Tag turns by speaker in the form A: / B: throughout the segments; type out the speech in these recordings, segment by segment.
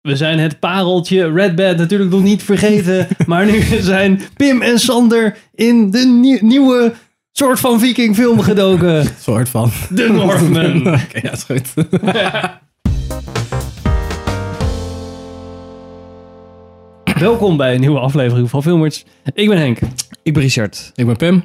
A: We zijn het pareltje Red Bad natuurlijk nog niet vergeten. maar nu zijn Pim en Sander in de nie- nieuwe soort van vikingfilm gedoken.
B: soort van.
A: The Northman.
B: Oké, ja, is goed.
A: Welkom bij een nieuwe aflevering van Filmers. Ik ben Henk.
C: Ik ben Richard.
B: Ik ben Pim.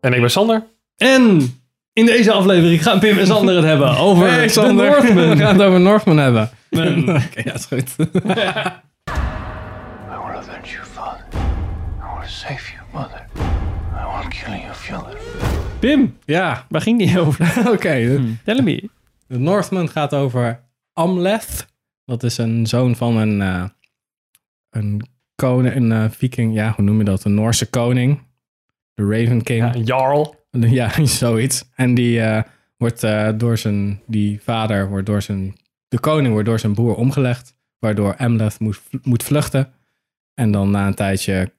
D: En ik ben Sander.
A: En in deze aflevering gaan Pim en Sander het hebben over
B: Hey,
A: The
B: Sander. We
A: Northman.
B: gaan het over Eh, Northman hebben. Oké, ja, is goed.
E: I will avenge you, father. I will save you, mother. I will kill your father.
A: Pim,
B: Ja, Hmm.
A: waar ging die over?
B: oké. eh.
A: Tell me.
B: De Northman gaat over Amleth. Dat is een zoon van een, eh, een koning, een eh, viking. Ja, hoe noem je dat? Een Noorse koning. De Raven King.
D: Ja, een jarl.
B: Ja, zoiets. En die eh, wordt eh, door zijn, die vader wordt door zijn, de koning wordt door zijn broer omgelegd, waardoor Amleth moet, moet vluchten. En dan na een tijdje,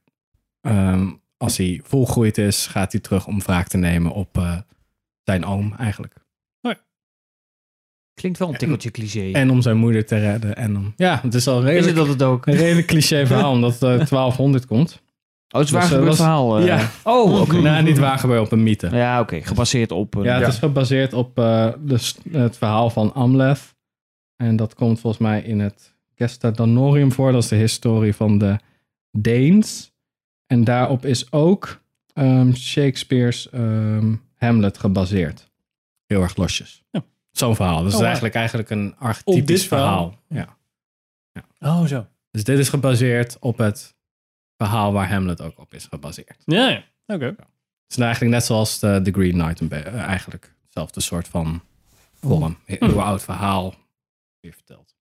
B: ehm, als hij volgroeid is, gaat hij terug om wraak te nemen op eh, zijn oom eigenlijk.
C: Klinkt wel een tikkeltje cliché.
B: En om zijn moeder te redden. En om, ja, het is al
C: is het
B: redelijk,
C: dat het ook? eh,
B: een redelijk cliché verhaal, omdat eh 1200 komt.
C: Oh, het is
B: Dus,
C: waar
B: eh,
C: gebeurd
B: was-
C: verhaal. eh.
B: ja.
C: Oh, oké.
B: Nou, niet waar gebeurd op een mythe.
C: Ja, oké. Gebaseerd op... een-
B: Ja, het
D: Ja.
B: is gebaseerd op eh, de s- het verhaal van Amleth. En dat komt volgens mij in het Gesta Danorium voor. Dat is de historie van de Deens. En daarop is ook ehm, Shakespeare's ehm, Hamlet gebaseerd. Heel erg losjes.
A: Ja.
B: Zo'n verhaal. Dus het is
A: wauw.
B: eigenlijk, eigenlijk een
A: Op dit
B: archetypisch
A: verhaal?
B: verhaal. Ja.
A: Oh, zo.
B: Dus dit is gebaseerd op het verhaal waar Hamlet ook op is gebaseerd.
A: Ja, ja. oké.
B: Het is nou eigenlijk net zoals de, The Green Knight. een be- eh, Eigenlijk hetzelfde soort van column. Een Heel oud verhaal. Weer verteld.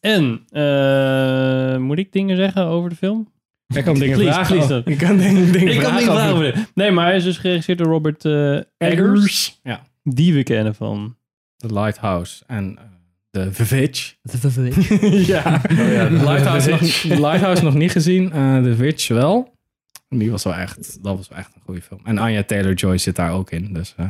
A: En, eh, moet ik dingen zeggen over de film?
B: Ik kan dingen
A: Please,
B: vragen.
A: please,
B: oh, ik kan dingen, dingen
A: Ik kan niet
B: over-
A: vragen. over dit. Nee, maar hij is dus geregisseerd door Robert eh, Eggers.
B: Eggers. Ja.
A: Die we kennen van.
B: The Lighthouse en eh, The Village.
A: Oh, ja.
D: ja,
B: The Lighthouse, nog, The Lighthouse nog niet gezien. eh, The Village wel. Die was wel echt, dat was wel echt een goede film. En Anya Taylor-Joy zit daar ook in. Dus eh,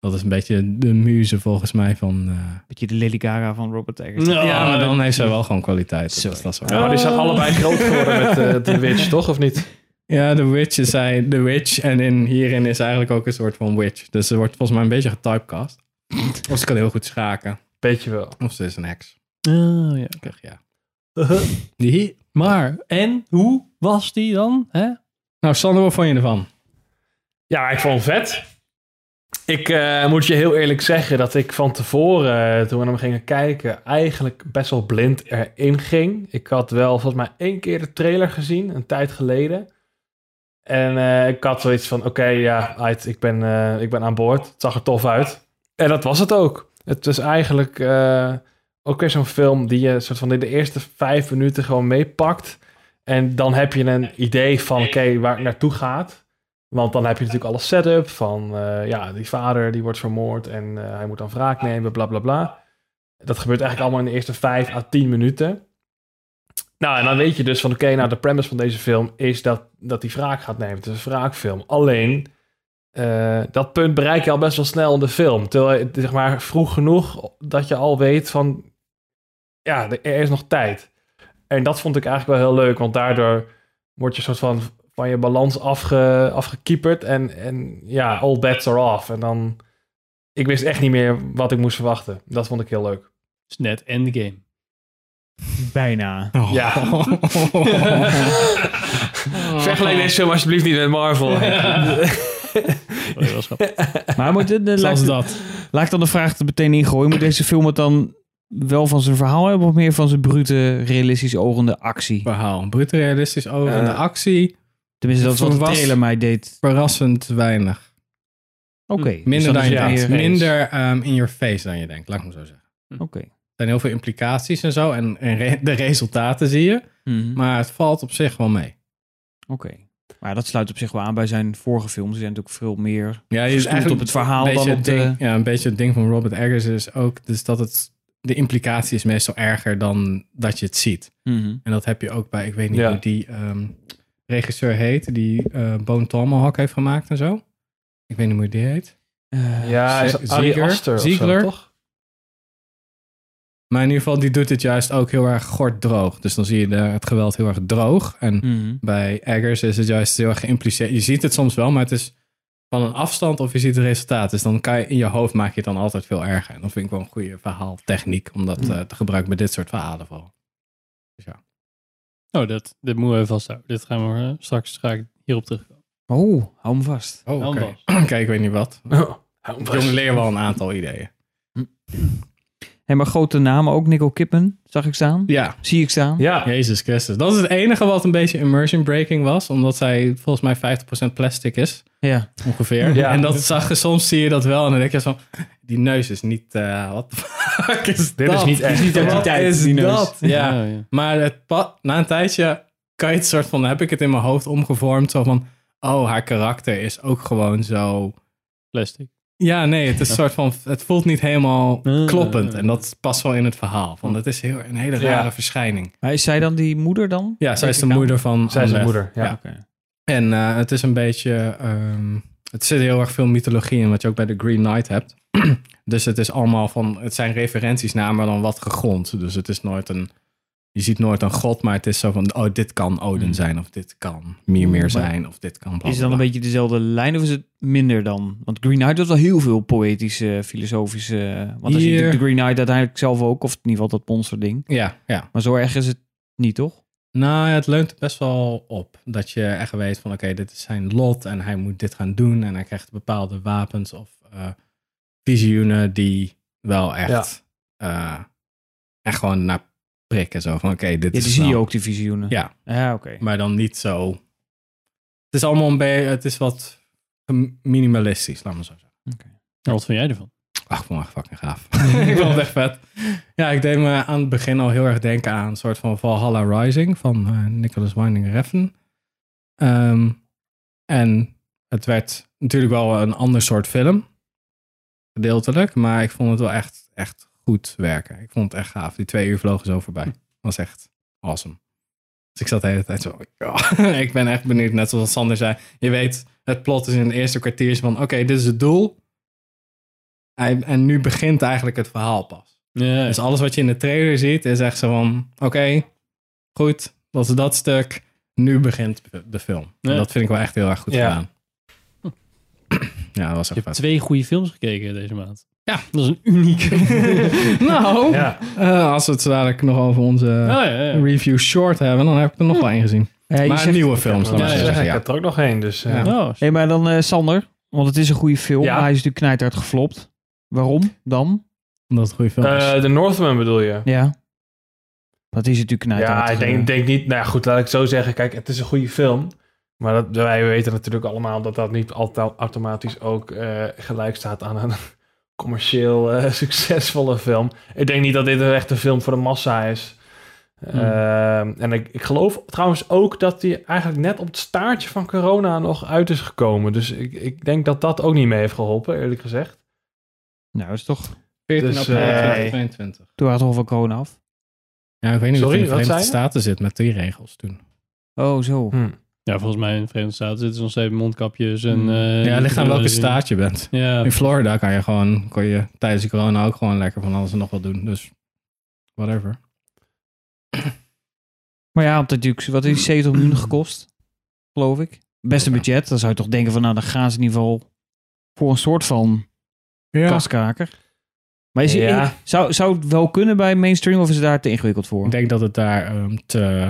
B: dat is een beetje de muze volgens mij van... eh,
C: Beetje de Lily Gaga van Robert Eggers.
B: ja,
A: Oh,
B: maar dan heeft zij wel gewoon kwaliteit. Dus
C: Sorry.
B: dat is wel
D: Ja, maar die zijn allebei groot geworden met eh, The Witch, toch? Of niet?
B: Ja, de witch is hij, de witch. En in, hierin is eigenlijk ook een soort van witch. Dus ze wordt volgens mij een beetje getypecast. Of ze kan heel goed schaken.
D: Beetje wel.
B: Of ze is een heks.
A: Oh, ja.
B: Kijk, ja. Die.
A: Maar, en hoe was die dan? Hè?
B: Nou, Sander, wat vond je ervan?
D: Ja, ik vond het vet. Ik eh, moet je heel eerlijk zeggen dat ik van tevoren, eh, toen we naar hem gingen kijken, eigenlijk best wel blind erin ging. Ik had wel volgens mij één keer de trailer gezien, een tijd geleden. En eh, ik had zoiets van, oké, ja, uit, ik, ben, eh, ik ben aan boord. Het zag er tof uit. En dat was het ook. Het is eigenlijk eh, ook weer zo'n film die je soort van in de eerste vijf minuten gewoon meepakt. En dan heb je een idee van, oké, waar het naartoe gaat. Want dan heb je natuurlijk alle setup van, eh, ja, die vader die wordt vermoord en eh, hij moet dan wraak nemen, bla bla bla. Dat gebeurt eigenlijk allemaal in de eerste 5 à 10 minuten. Nou, en dan weet je dus van, oké, nou, de premise van deze film is dat, dat die wraak gaat nemen. Het is een wraakfilm. Alleen, eh, dat punt bereik je al best wel snel in de film. Terwijl, je, zeg maar, vroeg genoeg dat je al weet van, ja, er er is nog tijd. En dat vond ik eigenlijk wel heel leuk, want daardoor word je soort van van je balans afge, afgekieperd. En, en ja, all bets are off. En dan. Ik wist echt niet meer wat ik moest verwachten. Dat vond ik heel leuk.
A: is net Endgame.
B: Mm.
C: Bijna.
B: Oh,
D: Ja. Vergelijk deze film alsgeblieft niet met Marvel.
C: Maar moet, de, de, laat,
B: Zoals
C: ik-
B: dat.
C: laat ik dan de vraag er meteen ingooien. Moet deze film het dan wel van zijn verhaal hebben... of meer van zijn brute, realistisch ogende actie?
B: Verhaal. Brute realistisch over. en de
D: Eh.
B: actie,
C: Tenminste, dat is wat de
B: Verwas-
C: trailer mij deed.
B: verrassend weinig.
C: Oké. dus
B: Minder
C: dan is
B: dan je
C: het
D: ja,
B: denkt.
C: meer-
B: Minder ehm, in your face dan je denkt, laat ik maar zo zeggen.
C: Oké.
B: Er zijn heel veel implicaties en zo. En, en re- de resultaten zie je.
C: Mhm.
B: Maar het valt op zich wel mee.
C: Oké. Maar dat sluit op zich wel aan bij zijn vorige films. Die zijn natuurlijk veel meer
B: Ja, je
C: gestoeld op het verhaal
B: Dus Een beetje
C: dan op
B: het
C: de...
B: ding- Ja, een beetje het ding van Robert Eggers is ook dus dat het, de implicatie is meestal erger dan dat je het ziet.
C: Mhm.
B: En dat heb je ook bij, ik weet niet
D: Ja.
B: hoe die ehm, regisseur heet, die eh Bone Tomahawk heeft gemaakt en zo. Ik weet niet hoe die heet.
C: Eh,
D: ja, is dat Ari
B: Ziegler?
D: Aster of zo,
B: Ziegler?
D: toch?
B: Maar in ieder geval, die doet het juist ook heel erg gort droog. Dus dan zie je de, het geweld heel erg droog. En
C: hm.
B: bij Eggers is het juist heel erg geïmpliceerd. Je ziet het soms wel, maar het is van een afstand of je ziet het resultaat. Dus dan kan je in je hoofd maak je het dan altijd veel erger. En dat vind ik wel een goede verhaaltechniek om dat eh, te gebruiken bij dit soort verhalen vooral.
F: Oh, dat, dit moeten we even vasthouden. Dit gaan we eh, straks ga ik hierop terugkomen.
C: Oh, hou hem vast.
B: Oh,
F: Dan
B: oké.
F: vast.
B: Kijk, ik weet niet wat.
D: Oh, hou hem
B: Ik
D: vast.
B: leer wel een aantal ideeën.
C: Hé, maar grote namen ook. Nicole Kidman zag ik staan.
B: Ja,
C: Zie ik staan.
D: Ja,
B: Jezus Christus. Dat is het enige wat een beetje immersion breaking was. Omdat zij volgens mij 50% plastic is,
C: Ja.
B: ongeveer.
D: Ja.
B: En dat zag je, soms zie je dat wel. En dan denk je zo, die neus is niet... eh wat de fuck is
D: Dit
B: dat?
D: is niet echt.
B: Wat is
C: die neus.
B: dat? Ja.
F: Ja, ja.
B: Maar het pa- na een tijdje kan je het soort van... Heb ik het in mijn hoofd omgevormd. Zo van, oh, haar karakter is ook gewoon zo...
F: Plastic.
B: Ja, nee, het is een soort van... Het voelt niet helemaal
D: Ah.
F: Eh.
B: kloppend. En dat past wel in het verhaal. Want het is heel, een hele
D: Ja.
B: rare verschijning.
C: Maar is zij dan die moeder dan?
B: Ja, zij
C: Denk
B: is de
C: ik aan.
B: moeder van
D: zij is zijn
B: Hamlet.
D: moeder. Ja.
B: Ja. En eh, het is een beetje. ehm, het zit heel erg veel mythologie in, wat je ook bij de Green Knight hebt. dus het is allemaal van. Het zijn referenties naar, maar dan wat gegrond. Dus het is nooit een. Je ziet nooit een god, maar het is zo van. Oh, dit kan Odin zijn, of dit kan Mimir zijn, of dit kan. bla,
C: Hmm. Is het dan
B: bla,
C: een
B: bla.
C: beetje dezelfde lijn of is het minder dan? Want Green Knight was wel heel veel poëtische, filosofische... Want als je
B: Hier-
C: natuurlijk de Green Knight uiteindelijk zelf ook, of in ieder geval dat monsterding.
B: Ja, ja.
C: Maar zo erg is het niet, toch?
B: Nou, het leunt best wel op. Dat je echt weet van: oké, dit is zijn lot en hij moet dit gaan doen. En hij krijgt bepaalde wapens of eh, visioenen die wel echt. eh, echt gewoon naar prikken. Zo van: oké, dit
C: Ja,
B: is.
C: die zie
B: wel-
C: je ook, die visioenen.
B: Ja.
C: Ja, oké.
B: Maar dan niet zo. Het is allemaal een beetje. Het is wat minimalistisch, laat maar zo zeggen.
F: Nou, wat vind jij ervan?
B: Ach, ik vond het echt fucking gaaf. ik vond het echt vet. Ja, ik deed me aan het begin al heel erg denken aan een soort van Valhalla Rising van eh, Nicholas Winding Refn. Ehm, en het werd natuurlijk wel een ander soort film. Gedeeltelijk. Maar ik vond het wel echt, echt goed werken. Ik vond het echt gaaf. Die twee uur vlogen zo voorbij. was echt awesome. Dus ik zat de hele tijd zo. ja. ik ben echt benieuwd. Net zoals Sander zei. Je weet, het plot is in het eerste kwartier van: oké, dit is het doel. En en nu begint eigenlijk het verhaal pas.
F: Ja,
B: Dus alles wat je in de trailer ziet is echt zo van... Oké, goed, dat is dat stuk. Nu begint de film. En
F: Ja.
B: dat vind ik wel echt heel erg goed
D: Ja.
B: gedaan. Ja, dat was
F: je hebt
B: echt vet.
F: twee goede films gekeken deze maand.
B: Ja.
F: Dat is een unieke.
B: nou,
D: Ja.
B: eh, als we het zo dadelijk nog over onze
D: Ah,
F: Oh, ja, ja. ja.
B: review short hebben... dan heb ik er
D: Hm.
B: nog wel één gezien.
C: Ja, je
B: maar
C: zegt-
B: nieuwe films, dan
F: Ja,
B: maar
F: ja,
B: zo
F: ja.
B: zeggen.
D: Ik
B: Ja.
D: heb er ook nog één, dus... eh,
B: Ja.
F: Oh,
C: Hé, maar dan eh, Sander, want het is een goede film.
D: Ja.
C: maar Hij is natuurlijk knijterhard geflopt. Waarom dan?
B: Omdat het een goede film is.
D: eh, de Northman bedoel je?
C: Ja. Dat is eh, natuurlijk knijterhard.
D: Ja, ik denk, denk niet... Nou ja, goed, laat ik het zo zeggen. Kijk, het is een goede film. Maar dat, wij weten natuurlijk allemaal dat dat niet altijd automatisch ook eh, gelijk staat aan een commercieel eh, succesvolle film. Ik denk niet dat dit een echte film voor de massa is. Ehm, en ik, ik geloof trouwens ook dat die eigenlijk net op het staartje van corona nog uit is gekomen. Dus ik, ik denk dat dat ook niet mee heeft geholpen, eerlijk gezegd.
C: Nou, dat is toch...
B: 14
D: dus,
B: april
D: eh,
B: 2022.
C: Toen waren toch van corona af.
B: Ja, ik weet niet
D: Sorry,
B: of het in
D: wat
B: de
D: zei je?
B: Verenigde Staten zit met die regels toen.
C: Oh, zo.
D: Hm.
F: Ja, volgens mij in de Verenigde Staten zitten ze nog steeds mondkapjes en...
C: Mm.
F: eh,
B: Ja, het ligt aan welke
F: dus-
B: staat je bent.
F: Ja,
B: In Florida kan je gewoon, kon je tijdens de corona ook gewoon lekker van alles en nog wat doen. Dus whatever.
C: Maar ja, omdat natuurlijk, wat is die, 70 miljoen gekost? Geloof ik. Best een budget. Dan zou je toch denken van, nou, dan gaan ze in ieder geval voor een soort van kaskaker. Maar is
D: Ja.
C: zou, zou het wel kunnen bij mainstream of is het daar te ingewikkeld voor?
B: Ik denk dat het daar ehm, te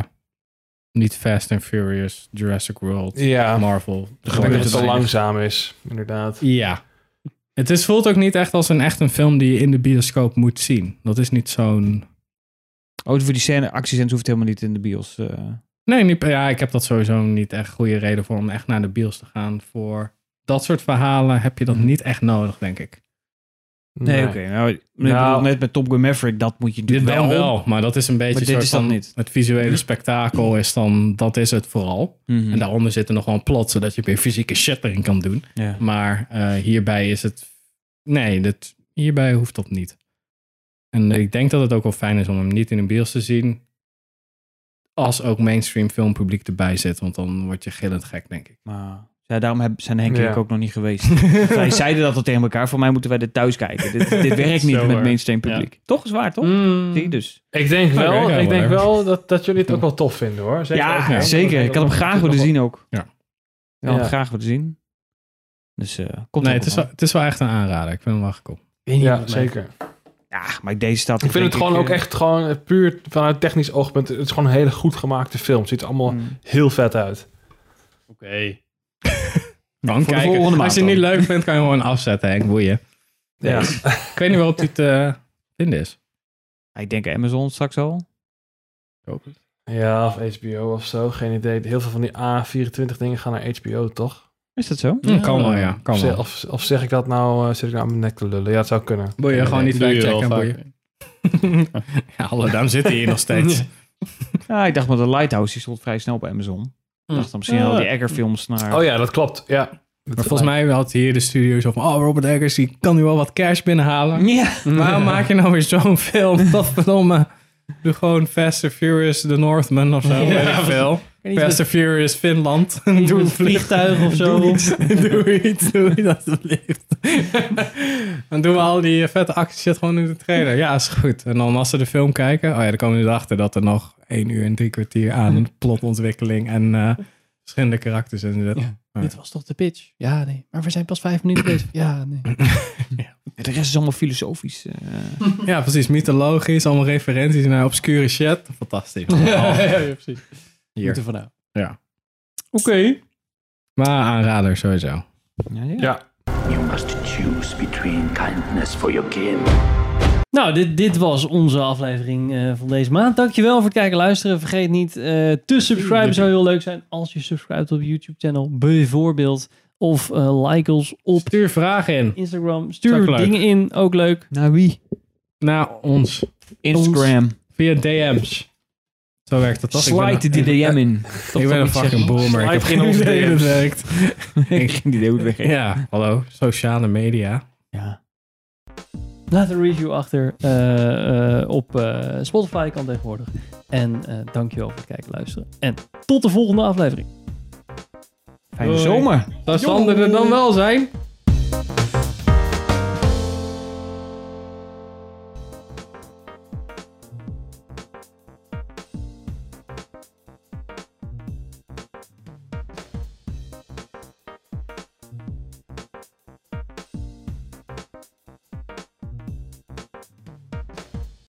B: niet Fast and Furious, Jurassic World,
D: Ja,
B: Marvel.
D: ik denk dat het
B: te
D: te
B: weinig-
D: langzaam is, inderdaad.
B: Ja. Het is, voelt ook niet echt als een echt een film die je in de bioscoop moet zien. Dat is niet zo'n
C: Oh, voor die scène, actiescènes hoeft het helemaal niet in de bios. eh.
B: Nee, niet, ja, ik heb dat sowieso niet echt goede reden voor om echt naar de bios te gaan. Voor dat soort verhalen heb je dat niet echt nodig, denk ik.
C: nee, oké. Nou, ik bedoel,
D: Nou.
C: net met Top Gun Maverick, dat moet je
B: Dit
C: natuurlijk
B: wel, wel, maar dat is een beetje
C: Maar dit
B: soort
C: is dat
B: van
C: niet.
B: het visuele spektakel is dan, dat is het vooral.
C: Mhm.
B: En daaronder zit er nog wel een plot, zodat je weer fysieke shit erin kan doen.
C: Ja.
B: Maar eh, hierbij is het, nee, dit, hierbij hoeft dat niet. En ik denk dat het ook wel fijn is om hem niet in de bios te zien, als ook mainstream filmpubliek erbij zit, want dan word je gillend gek, denk ik.
C: Maar Ja, daarom heb, zijn Henk en
D: Ja.
C: ik ook nog niet geweest. wij zeiden dat al tegen elkaar. Voor mij moeten wij dit thuis kijken. Dit, dit werkt niet
F: Zo
C: met
F: waar.
C: mainstream publiek. Toch is waar, toch?
A: Mm.
C: Zie je dus.
D: Ik denk
B: Oké,
D: wel,
B: ja,
D: ik denk
B: whatever.
D: wel dat, dat jullie het ook wel tof vinden hoor. Zeker ook,
C: ja,
D: hè?
C: zeker. Ik had hem graag willen zien ook.
B: Ja.
C: Ik had hem
D: Ja.
C: graag willen zien. Dus eh, komt
B: Nee,
C: ook
B: het is,
C: wel.
B: wel, het is wel echt een aanrader. Ik vind hem wel gekomen.
D: Ja, zeker.
C: Ja, maar deze staat...
D: Ik vind het
C: denk
D: gewoon ook
C: eh,
D: echt gewoon puur vanuit technisch oogpunt. Het is gewoon een hele goed gemaakte film. Het ziet er allemaal
C: mm.
D: heel vet uit.
F: Oké.
B: Gewoon
C: voor de
B: kijken.
C: volgende
B: Als
C: maand
B: je het niet
C: dan.
B: leuk vindt, kan je gewoon afzetten, Henk. Boeien.
D: Ja.
B: Ik weet niet waarop dit eh vinden is.
C: Ik denk Amazon straks al.
D: ja, of HBO of zo. Geen idee. Heel veel van die A24 dingen gaan naar HBO, toch?
C: Is dat zo?
B: Hm, kan wel, ja. Kan
D: Of,
B: wel.
D: of, of zeg ik dat nou, eh, zit ik nou aan mijn nek te lullen? Ja, het zou kunnen.
B: Boeien, gewoon niet
F: Doe je wel
B: factchecken.
F: vaak.
B: Boeien. ja, alle, daarom zit hij hier nog steeds.
C: Ja, ik dacht maar de Lighthouse die stond vrij snel op Amazon. Ik dacht dan misschien
B: Ja.
C: al die Egger-films naar...
D: Mm. Oh ja, dat klopt. Ja.
B: Maar volgens mij had hier de studio zo van... Oh, Robert Eggers, die kan nu wel wat cash binnenhalen.
C: Ja.
B: Waarom maak je nou weer zo'n film? Wat verdomme. Doe gewoon Fast and Furious The Northman of zo. weet ik veel. Fast and Furious Finland.
A: Doe
B: doe,
A: een vliegtuig of zo.
B: doe iets. Doe iets. Doe iets alsjeblieft. dan doen we al die vette acties shit gewoon in de trailer. Ja, is goed. En dan als ze de film kijken... Oh ja, dan komen ze erachter dat er nog één uur en drie kwartier aan plotontwikkeling en... eh, verschillende karakters en zit.
A: Dit was toch de pitch? Ja, nee. Maar we zijn pas vijf minuten bezig. Ja, nee.
C: De rest is allemaal filosofisch. eh.
B: Ja, precies. Mythologisch, allemaal referenties naar obscure shit. Fantastisch.
F: Ja, ja, ja, precies.
B: Hier.
A: Van nou.
B: Oké. Maar aanrader sowieso.
C: ja, ja.
D: Ja.
E: You must choose between kindness for your kin
A: Nou, dit, dit was onze aflevering eh, van deze maand. Dankjewel voor het kijken en luisteren. Vergeet niet eh, te subscriben. Zou heel leuk zijn als je subscribt op YouTube-channel bijvoorbeeld. Of eh, like ons op
B: Stuur vragen in
A: Instagram.
B: Is
A: Stuur
B: ook leuk.
A: dingen in, ook leuk.
C: Naar wie?
B: naar ons
C: Instagram.
B: via DM's. Zo werkt dat toch? Ik ben
C: Slide
B: een-
C: die DM in.
B: Ik ben een fucking boomer. Ik heb
D: Slide in
B: geen
D: onze
B: idee hoe
D: DM's.
B: het werkt.
C: Ik ging die de hele weg.
B: Ja, hallo. Sociale media.
C: Ja.
A: Laat een review achter eh, eh, op eh, Spotify kan tegenwoordig. En eh dankjewel voor het kijken en luisteren. En tot de volgende aflevering.
C: Fijne
B: Doei.
C: zomer.
B: Zou Sander er dan wel zijn?